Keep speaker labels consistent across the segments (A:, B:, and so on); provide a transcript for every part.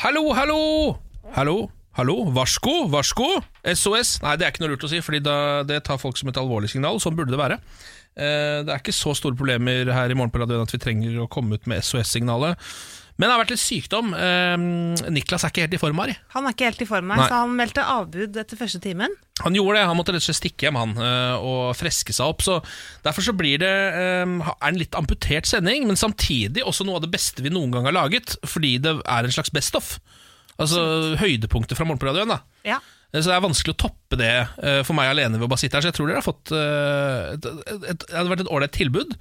A: Hallo, hallo! Hallo, hallo, varsko, varsko! SOS! Nei, det er ikke noe lurt å si, Fordi da, det tar folk som et alvorlig signal. Sånn burde det være. Eh, det er ikke så store problemer her i Morgen på radioen at vi trenger å komme ut med SOS-signalet. Men det har vært litt sykdom. Eh, Niklas er ikke helt i form, Ari.
B: Han er ikke helt i form her,
A: Nei.
B: så han meldte avbud etter første timen.
A: Han gjorde det, han måtte rett og slett stikke hjem han eh, og freske seg opp. Så Derfor så blir det eh, er en litt amputert sending, men samtidig også noe av det beste vi noen gang har laget, fordi det er en slags best of. Altså høydepunktet fra Morgenpradioen. da.
B: Ja.
A: Eh, Så det er vanskelig å toppe det eh, for meg alene ved å bare sitte her, så jeg tror dere har fått eh, et, et, et, Det hadde vært et ålreit tilbud.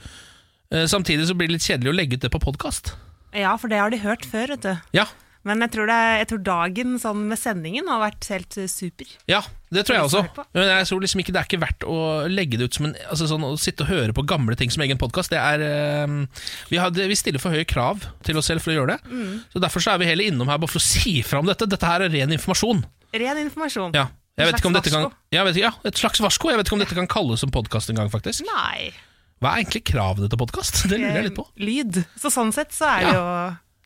A: Eh, Samtidig så blir det litt kjedelig å legge ut det på podkast.
B: ja, for det har de hørt før, vet du.
A: Ja,
B: Men jeg tror, det, jeg tror dagen sånn med sendingen har vært helt eh, super.
A: Ja, det tror jeg
B: Det er
A: også.
B: litt svært,
A: Men jeg tror liksom ikke det er ikke verdt å legge det ut som en altså sånn, Å sitte og høre på gamle ting som egen podkast. eh, Vi, har- vi stiller for høye krav til oss selv for å gjøre det. Så Derfor så er vi heller innom her bare for å si fra om dette. Dette her er ren informasjon.
B: Ren informasjon.
A: Ja. Jeg
B: Et
A: vet ikke om
B: slags
A: dette kan,
B: varsko.
A: ja, jeg vet, ja, et slags varsko. Jeg vet ikke om dette kan kalles en podkast engang, faktisk.
B: Nei.
A: Hva er egentlig kravene til podkast? Det lurer jeg litt på.
B: Eh, Lyd. Så sånn sett så er,
A: Ja.
B: det, jo,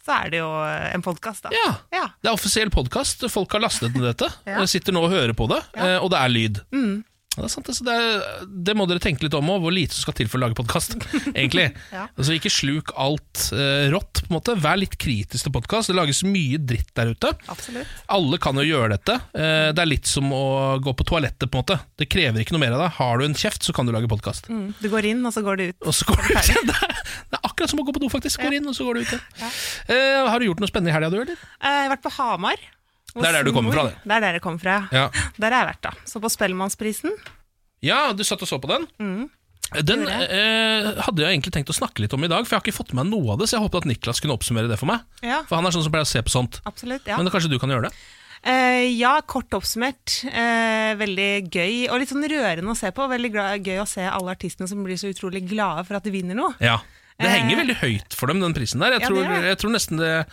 B: så er det jo eh, en podkast, da.
A: Ja.
B: Ja.
A: Det er offisiell podkast. Folk har lastet ned dette.
B: Ja. Mm.
A: Jeg Sitter nå og hører på det, eh, og det er lyd. Ja, Det, er sant, det. Så det, er, det må dere tenke litt om òg, hvor lite som skal til for å lage podkast.
B: Ja.
A: altså, ikke sluk alt eh, rått. på en måte Vær litt kritisk til podkast. Det lages mye dritt der ute.
B: Absolutt.
A: Alle kan jo gjøre dette. Eh, det er litt som å gå på toalettet. på en måte Det krever ikke noe mer av deg. Har du en kjeft, så kan du lage podkast.
B: Mm. Du går inn, og så går du ut.
A: Og så går du ut igjen. Det er det er akkurat som å gå på do, faktisk. Går inn, og så går du ut igjen. Eh, har du gjort noe spennende i helga, du, eller?
B: Eh, Jeg har vært på Hamar.
A: Det er der du kommer fra, det.
B: det. Det er der jeg kommer fra, ja.
A: Ja.
B: Der har jeg vært, da. Så på Spellemannsprisen.
A: Ja, du satt og så på den. Den
B: Mm. Gjorde
A: eh, hadde jeg egentlig tenkt å snakke litt om i dag, for jeg har ikke fått med meg noe av det. Så jeg håpet at Niklas kunne oppsummere det for meg.
B: Ja,
A: For han er sånn som pleier å se på sånt.
B: absolutt. Ja.
A: Men kanskje du kan gjøre det?
B: Eh, ja, kort oppsummert. eh, veldig gøy og litt sånn rørende å se på. Veldig gla- gøy å se alle artistene som blir så utrolig glade for at de vinner noe.
A: Ja. Det
B: Eh.
A: henger veldig høyt for dem, den prisen der. Jeg,
B: Ja, det
A: tror,
B: gjør det.
A: jeg tror nesten det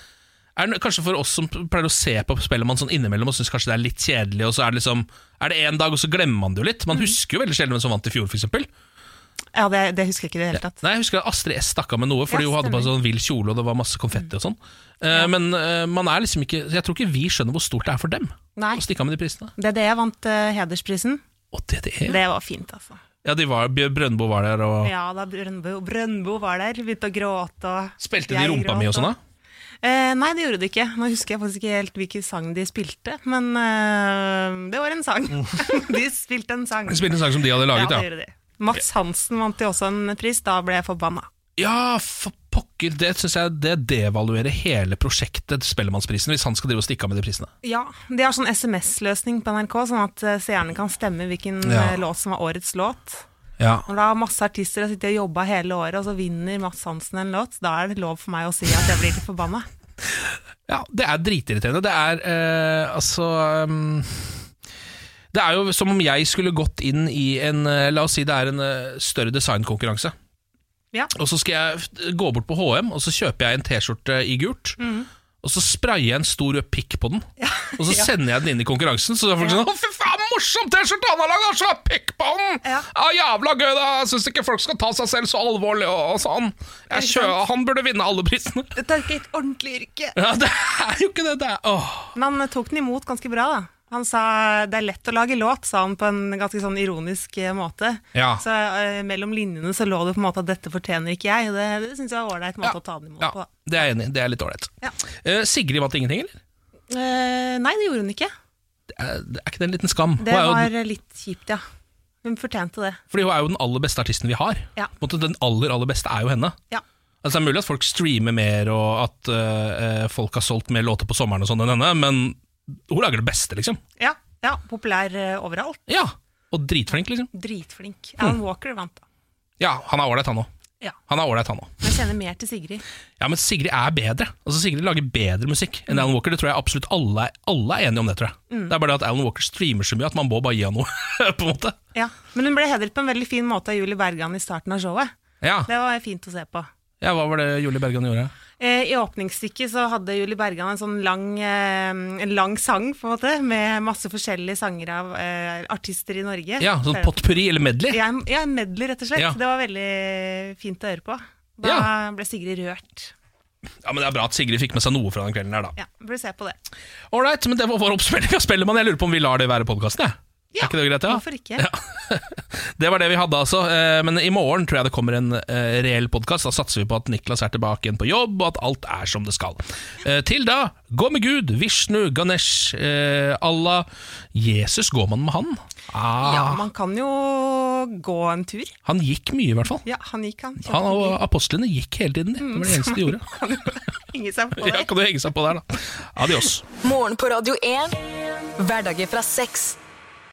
A: er n- Kanskje for oss som pleier å se på Spellemann sånn innimellom og syns kanskje det er litt kjedelig, og så er det liksom Er det én dag, og så glemmer man det jo litt.
B: Mm.
A: Man husker jo veldig sjelden hvem som vant i fjor, f.eks.
B: Ja, Det, det husker jeg ikke i det hele tatt.
A: Nei, jeg husker at Astrid S stakk av med noe, fordi
B: Ja,
A: hun hadde på
B: stemmer.
A: seg sånn vill kjole, og det var masse konfetti og sånn. Eh, Men eh, man er liksom ikke Jeg tror ikke vi skjønner hvor stort det er for dem
B: Nei.
A: å stikke av med de prisene.
B: Det er det jeg vant eh, hedersprisen.
A: Og DDE?
B: Det var fint, altså.
A: Ja, de var, Bjørn Brøndbo var der og
B: Ja, da Brøndbo, Brøndbo var der, begynte å gråte og
A: Spilte de
B: jeg
A: rumpa
B: gråt,
A: mi og sånn, da?
B: Eh, nei, det gjorde det ikke. Nå husker jeg faktisk ikke helt hvilken sang de spilte, men eh, det var en sang. de spilte en sang.
A: Mm. De Spilte en sang som de hadde
B: Ja,
A: laget,
B: det
A: ja.
B: gjorde de. Mats Hansen vant jo også en pris, da ble jeg forbanna.
A: Ja, for pokker, det syns jeg det devaluerer hele prosjektet Spellemannsprisen, hvis han skal drive og stikke av med de prisene.
B: Ja, de har sånn SMS-løsning på NRK, sånn at eh, seerne kan stemme hvilken
A: Ja.
B: eh, låt som var årets låt.
A: Ja.
B: Når da masse artister har sittet og jobba hele året, og så vinner Mads Hansen en låt, da er det lov for meg å si at jeg blir litt forbanna.
A: ja, det er dritirriterende. Det er eh, altså ehm, Det er jo som om jeg skulle gått inn i en eh, La oss si det er en eh, større designkonkurranse.
B: Ja.
A: Og så skal jeg f- gå bort på HM, og så kjøper jeg en T-skjorte i gult. Og så sprayer jeg en stor rød pikk på den, og så sender jeg den inn i konkurransen. Så er folk sånn 'Å, fy faen, morsom T-skjorte han har laga! Så er pikk på den!' Ja.
B: Ja.
A: jævla gøy, da! Jeg syns ikke folk skal ta seg selv så alvorlig, og, og sånn. Jeg
B: Ikke
A: kjører, han burde vinne alle prisene.
B: Dette er ikke et ordentlig yrke.
A: Ja, det er jo ikke det. det er, åh.
B: Men han tok den imot ganske bra, da. Han sa det er lett å lage låt, sa han på en ganske sånn ironisk eh, måte.
A: Ja.
B: Så eh, mellom linjene så lå det på en måte at dette fortjener ikke jeg. og Det, det syns jeg var ålreit måte å ta den imot
A: Ja,
B: på. da.
A: det er jeg enig i. Det er litt ålreit.
B: Ja.
A: Eh, Sigrid vant ingenting, eller?
B: Eh, nei, det gjorde hun ikke.
A: Det er, det er ikke det en liten skam?
B: Det
A: hun er jo,
B: var litt kjipt, ja. Hun fortjente det.
A: Fordi hun er jo den aller beste artisten vi har.
B: Ja.
A: På en måte, Den aller, aller beste er jo henne.
B: Ja.
A: Altså, det er mulig at folk streamer mer, og at eh, eh, folk har solgt mer låter på sommeren og sånn enn henne, men hun lager det beste, liksom.
B: Ja, ja populær eh, overalt.
A: Ja, Og dritflink, liksom.
B: Dritflink. Alan Walker vant, da.
A: Ja, han er ålreit, han òg.
B: Ja.
A: Han er ålreit, han òg.
B: Men Jeg kjenner mer til Sigrid.
A: Ja, men Sigrid er bedre. Altså Sigrid lager bedre musikk enn Alan Walker. Det tror jeg absolutt alle, er- alle er enige om det, tror jeg.
B: Mm.
A: Det er bare det at Alan Walker streamer så mye at man må bare gi han noe, på en måte.
B: Ja. Men hun ble hedret på en veldig fin måte av Julie Bergan i starten av showet.
A: Ja,
B: Det var fint å se på.
A: ja Hva var det Julie Bergan gjorde?
B: Eh, I åpningsstykket så hadde Julie Bergan en sånn lang, eh, en lang sang, på en måte, med masse forskjellige sanger av eh, artister i Norge.
A: Ja, sånn potpurri eller medley.
B: Ja, en- ja, en medley, rett og slett.
A: Ja.
B: Det var veldig fint å høre på. Da ble Sigrid rørt.
A: Ja, men Det er bra at Sigrid fikk med seg noe fra den kvelden. her da
B: Ja, burde se på det.
A: Ålreit, men det var vår oppspilling av Spellemann. Jeg lurer på om vi lar det være podkasten, jeg.
B: Ja,
A: er ikke det greit? Ja?
B: Hvorfor ikke?
A: Det var det vi hadde, altså. Eh, Men i morgen tror jeg det kommer en eh, reell podkast. Da satser vi på at Niklas er tilbake igjen på jobb, og at alt er som det skal. Eh, Til da, gå med Gud, Vishnu, Ganesh, eh, Allah Jesus, går man med han? Ah,
B: Ja, man kan jo gå en tur.
A: Han gikk mye, i hvert fall.
B: Ja, han gikk, han.
A: Han og apostlene gikk hele tiden. de. Det var det eneste de gjorde.
B: Kan jo henge seg på
A: Ja,
B: det.
A: kan du henge seg på der, da. Adios.
C: Morgen på Radio 1. Hverdager fra seks.